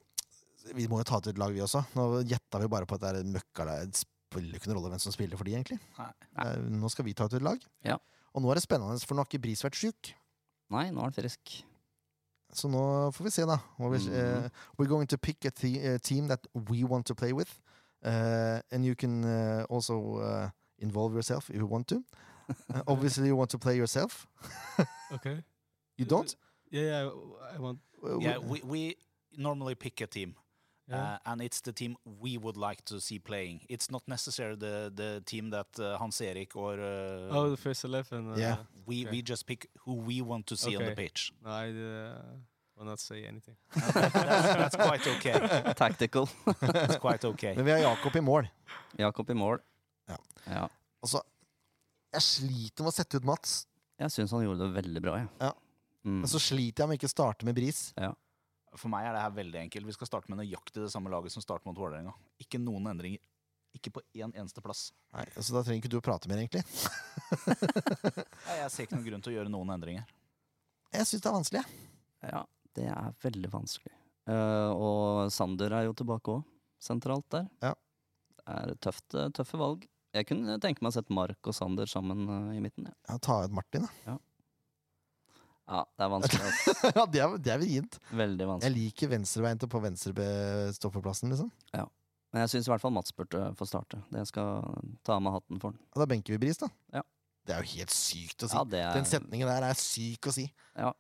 vi må jo ta til et lag, vi også. Nå gjetta vi bare på at det er en møkka der. Det spiller ikke noen rolle hvem som spiller for de, egentlig. Nei. Eh, nå skal vi ta til et lag. Ja. Og nå er det spennende, for nå har ikke Bris vært sjuk. Nei, nå er han frisk. Så nå får vi se, da. Hva vi, Mm. eh, we're going to pick a the, eh, team that we want to play with. Eh, and you can eh, also eh, involve yourself if you want to. Eh, obviously, you want to play yourself. okay. You don't? Yeah, yeah. I w- I want. Eh, Yeah, we- we, we normally pick a team. Yeah. Uh, and it's the team we would like to see playing. It's not necessarily the, the team that uh, Hans Erik or uh, oh, the first eleven. Uh, yeah. we okay. we just pick who we want to see on the Okay. pitch. No, I uh, will not say anything. that's, that's quite okay. Tactical. That's quite okay. Men vi har Jakob i mål. Jakob i mål. Ja. Ja. Altså, jeg sliter med å sette ut Mats. Jeg syns han gjorde det veldig bra, jeg. Ja. Mm. Men så sliter jeg med ikke å starte med bris. For meg er det her veldig enkelt. Vi skal starte med nøyaktig det samme laget som starter mot Vålerenga. Ikke noen endringer. Ikke på én eneste plass. Nei, Så da trenger ikke du å prate mer, egentlig. Nei, Jeg ser ikke noen grunn til å gjøre noen endringer. Jeg syns det er vanskelig. jeg. Ja, det er veldig vanskelig. Eh, og Sander er jo tilbake òg, sentralt der. Ja. Det er et tøft, eh, tøffe valg. Jeg kunne tenke meg å sette Mark og Sander sammen eh, i midten. Ja. Ja, ta ut Martin, da. ja, det er vanskelig. ass. ja, det er, det er vrient. Veldig Jeg vanskelig. liker venstreveien til på venstrestopperplassen, liksom. Men jeg syns i hvert fall Mats burde få starte. Det skal ta av meg hatten for han. Og da benker vi bris, da. Ja. Det er jo helt sykt å si. Altså, Ja, det Den er, setningen der er syk å si. det er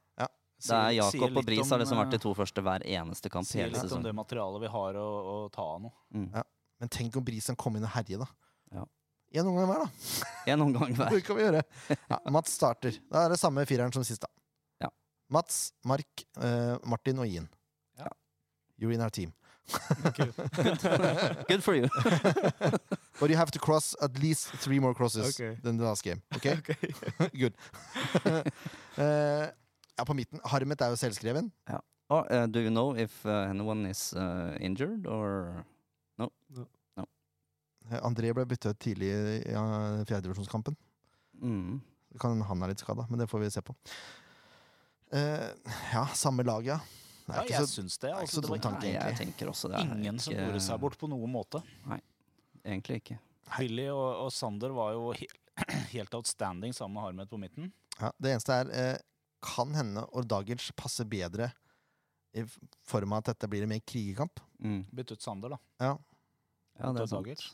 Sier- sier Jakob litt og Bris har liksom om, eh, vært de to første hver eneste kamp Sier hele litt om sesongen. det materialet vi har å, å ta av nå. Mm. Ja. Men tenk om brisen kom inn og herje, da. Ja. En omgang hver, da. En omgang hver. Det kan vi gjøre. Ja, Mats starter. Da er det samme fireren som sist, da. Ja. Mats, Mark, eh, Martin og Ian. Ja. You're in our team. Good for you. But you have to cross at least three more crosses Okay. than the last game. Okay? Good. Eh, ja, på midten. Harmet er jo selvskreven. Oh, uh, do you know if uh, anyone is uh, injured or Eh, André ble bytta ut tidlig i ja, fjerdedivisjonskampen. mm. Det Kan hende han er litt skada, men det får vi se på. Eh, ja, samme lag, ja. Det er Ja, ikke jeg så, syns det. er Altså, ikke det så var dum tanke, Nei, jeg egentlig. tenker også det. er ingen som ikke- gjorde seg bort på noen måte. Egentlig ikke. Billy og, og Sander var jo he- helt outstanding sammen med Harmet på midten. Ja, det eneste er eh, Kan hende Ordagic passer bedre i form av at dette blir en mer krigerkamp. Mm. Bytte ut Sander, da. Ja, det Ta er sant. Dragic.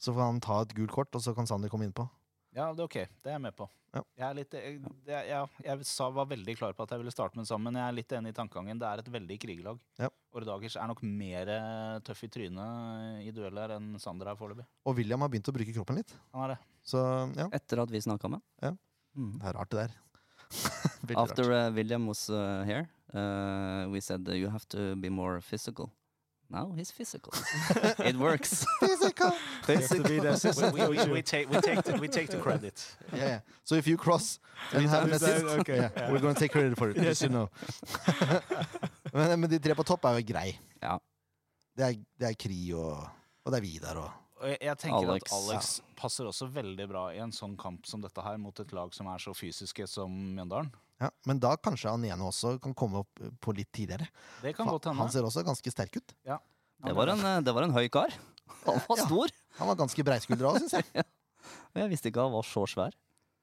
Så får han ta et gult kort, og så kan Sander komme innpå. Ja, det er OK. Det er jeg med på. Ja. Jeg, er litt, jeg, det, er- ja, jeg sa, var veldig klar på at jeg ville starte med den sammen, men jeg er litt enig i tankegangen. Det er et veldig krigelag. Ja. Ordagic er nok mer eh, tøff i trynet i dueller enn Sander er foreløpig. Og William har begynt å bruke kroppen litt. Han er det. Så ja, Etter at vi snakka med Ja. Mm. det er rart, det der. Veldig rart. After uh, William was uh, here, uh, we said uh, you have to be more physical. Now he's physical. It works. Physical. You have to be the assistant. We, we, coach. we, we, take, we, take the, we take the credit. Yeah, yeah. So if you cross and have an Is that- assist, Okay. yeah, we're gonna take credit for it. just you know. men, men de tre på topp er jo grei. Ja. Det, er, det er Kri og, og det er Vidar og Og jeg, jeg tenker Alex. at Alex passer også veldig bra i en sånn kamp som dette her, mot et lag som er så fysiske som Mjøndalen. ja, Men da kanskje han ene også kan komme opp eh, på litt tidligere. Det kan For godt hende. han ser også ganske sterk ut. Det var en, uh, det var en høy kar. Han var Ja. stor. Han var ganske breiskuldra òg, syns jeg. Men Jeg visste ikke han var så svær.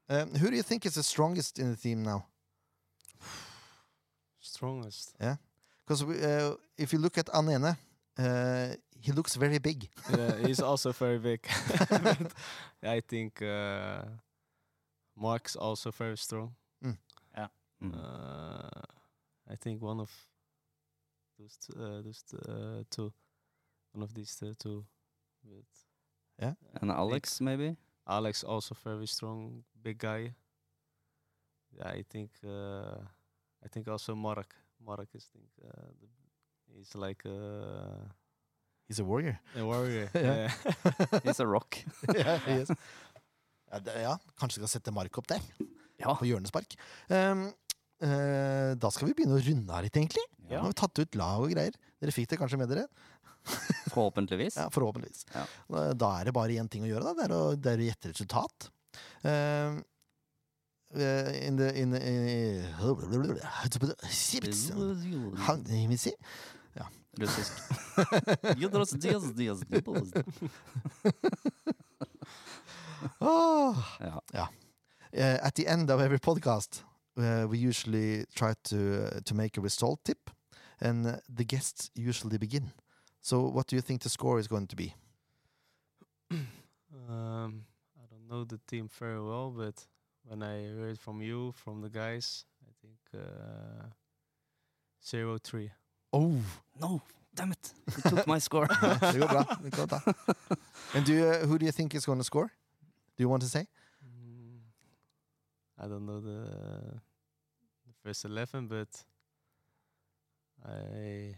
Um, who do you think is the strongest in the team now? Strongest. Because uh, if you look at Anene, uh, he looks very big. yeah, he's also very big. But I think uh, Mark's also very strong. Mm. Uh, I think one of those t- uh, those t- uh, two, one of these uh, two, but And Alex, maybe? Alex also very strong, big guy. Yeah, I think uh, I think also Mark. Mark is think uh, the, he's like uh, He's a warrior. a warrior. Yeah. yeah. He's a rock. yeah, he is. Ja, det, ja, kanskje skal sette Mark opp der, Ja. på hjørnespark. Um, eh, da skal vi begynne å runde av litt, egentlig. Ja. Nå har vi tatt ut lag og greier. Dere fikk det kanskje med dere? Forhåpentligvis. Ja, forhåpentligvis. Ja. Da- Da er det bare én ting å gjøre, da. Det er å, det er å gjette resultat. Um, eh, in the, in the, in, How, let me see. Russisk. Yudros, dios, dios, dios. Oh. Ja. Uh, at the end of every podcast, uh, we usually try to eh, to make a result tip, and uh, the guests usually begin. So, what do you think the score is going to be? Um, I don't know the team very well, but when I heard from you, from the guys, I think uh, zero three. Oh, No, damn it. He took my score. det går bra. Det går bra. And do you, eh, who do you think is going to score? Do you want to say? Mm, I don't know the the first eleven, but I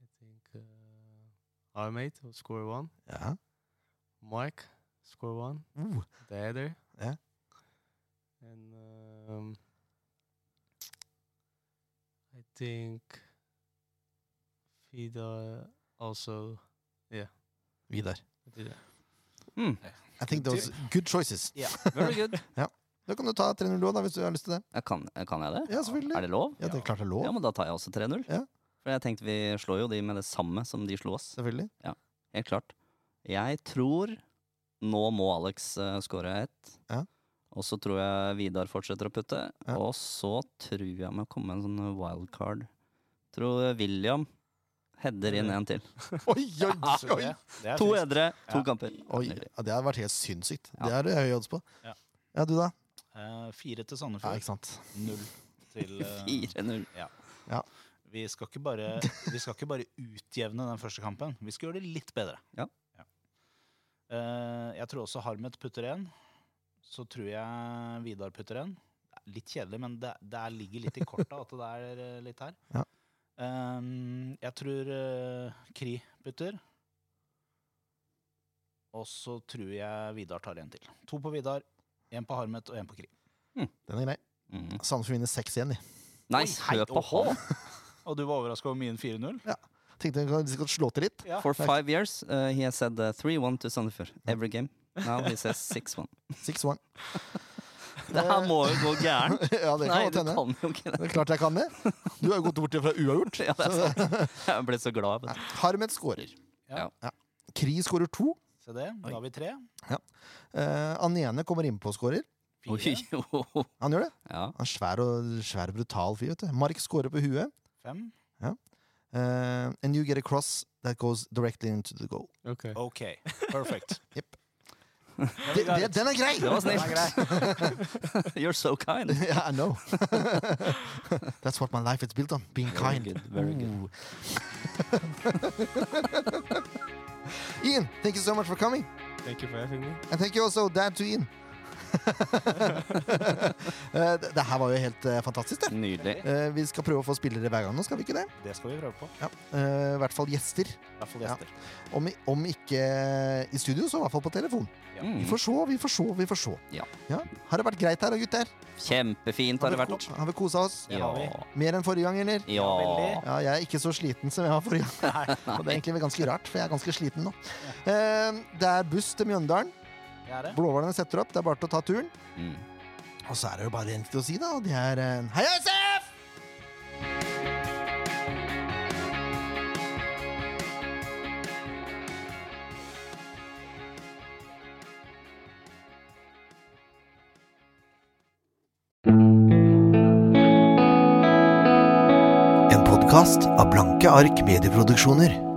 I think uh, Armate will score one. Yeah. Mike score one. Ooh. The header. Yeah. And um, I think Vida also. Vidar. Vida. Mm. Hmm, I think those good choices. very good. Da kan du ta 3-0 også, da, hvis du har lyst til det. Jeg kan, jeg kan jeg det? Ja, selvfølgelig. Er det lov? Ja, det er klart det er lov. Ja, men da tar jeg også 3-0. Ja. For jeg tenkte vi slår jo de med det samme som de slo oss. Selvfølgelig. Helt klart. Jeg tror nå må Alex uh, score ett. Ja. Og så tror jeg Vidar fortsetter å putte. Ja. Og så tror jeg må komme en sånn wildcard. Tror William header inn en til. Oi, oi, oi! Det, det er To friskt. edre, to Ja. kamper. Oi, Nydelig. ja, Det hadde vært helt sinnssykt. Det Ja. er det høye odds på. Ja. Ja, du da? Eh, fire til Ja, Sandefjord. ikke sant. Null til eh, 4-0. vi, skal ikke bare, vi skal ikke bare utjevne den første kampen. Vi skal gjøre det litt bedre. Ja. Eh, jeg tror også Harmet putter en. Så tror jeg Vidar putter en. Det er Litt kjedelig, men det, det er- ligger litt i korta at det er eh, litt her. Ja. Eh, jeg tror eh, Kri putter. Og så tror jeg Vidar tar en til. To på Vidar, én på Harmet og én på Kri. Den er grei. Mm. Sandefjord vinner 6-1. de. Nei, Oi, hei, hør på åhå. han! Og du var overraska over min 4-0? Tenkte jeg kan- de skal slå til litt. Ja. For five years, uh, he has said uh, 3-1 to Sandefjord every game. Now he says 6-1. 6-1. Det her må jo gå gærent. ja, det Nei, kan godt du hende. kan jo ikke det. Det er klart jeg kan det. Du har jo gått bort fra uavgjort. Ja, det er sant. Jeg ble så glad. Nei, vet du. Harmet skårer. Ja. Ja. Kri skårer to. Se det. Da har vi tre. Eh, Anene kommer innpå og skårer. Oi, fire, jo. Han gjør det. Ja. Han er svær og svær og brutal fyr. vet du. Mark scorer på huet. fem. eh, and you get a cross that goes directly into the goal. Okay. OK. Perfect. Yep. Then we Det, got det, it. den er grei! Det var Den er grei. snilt. You're so kind. yeah, I know. That's what my life is built on, being Very kind. good, very good. Ooh. Ian, thank you so much for coming. Thank you for having me. And thank you also, dad to Ian. Eh, det, det her var jo helt eh, fantastisk, det. Nydelig. Eh, vi skal prøve å få spillere hver gang nå, skal vi ikke det? Det skal vi prøve på. Ja. Eh, I hvert fall gjester. I hvert fall Ja. gjester. Om, i- om ikke i studio, så i hvert fall på telefon. Vi Mm. får se, vi får se, vi får se. Ja. Har det vært greit her, da, gutter? Kjempefint har det vært. Har vi kosa oss? Det har vi. Mer enn forrige gang, eller? Ja. veldig. Ja, jeg er ikke så sliten som jeg var forrige gang. Og det er egentlig ganske rart, for jeg er ganske sliten nå. Eh, det er buss til Mjøndalen. Det er det. Blåhvalene setter opp, det er bare til å ta turen. Mm. Og så er det jo bare egentlig å si, da, og det er eh, Heia SF! En podkast av Blanke ark medieproduksjoner.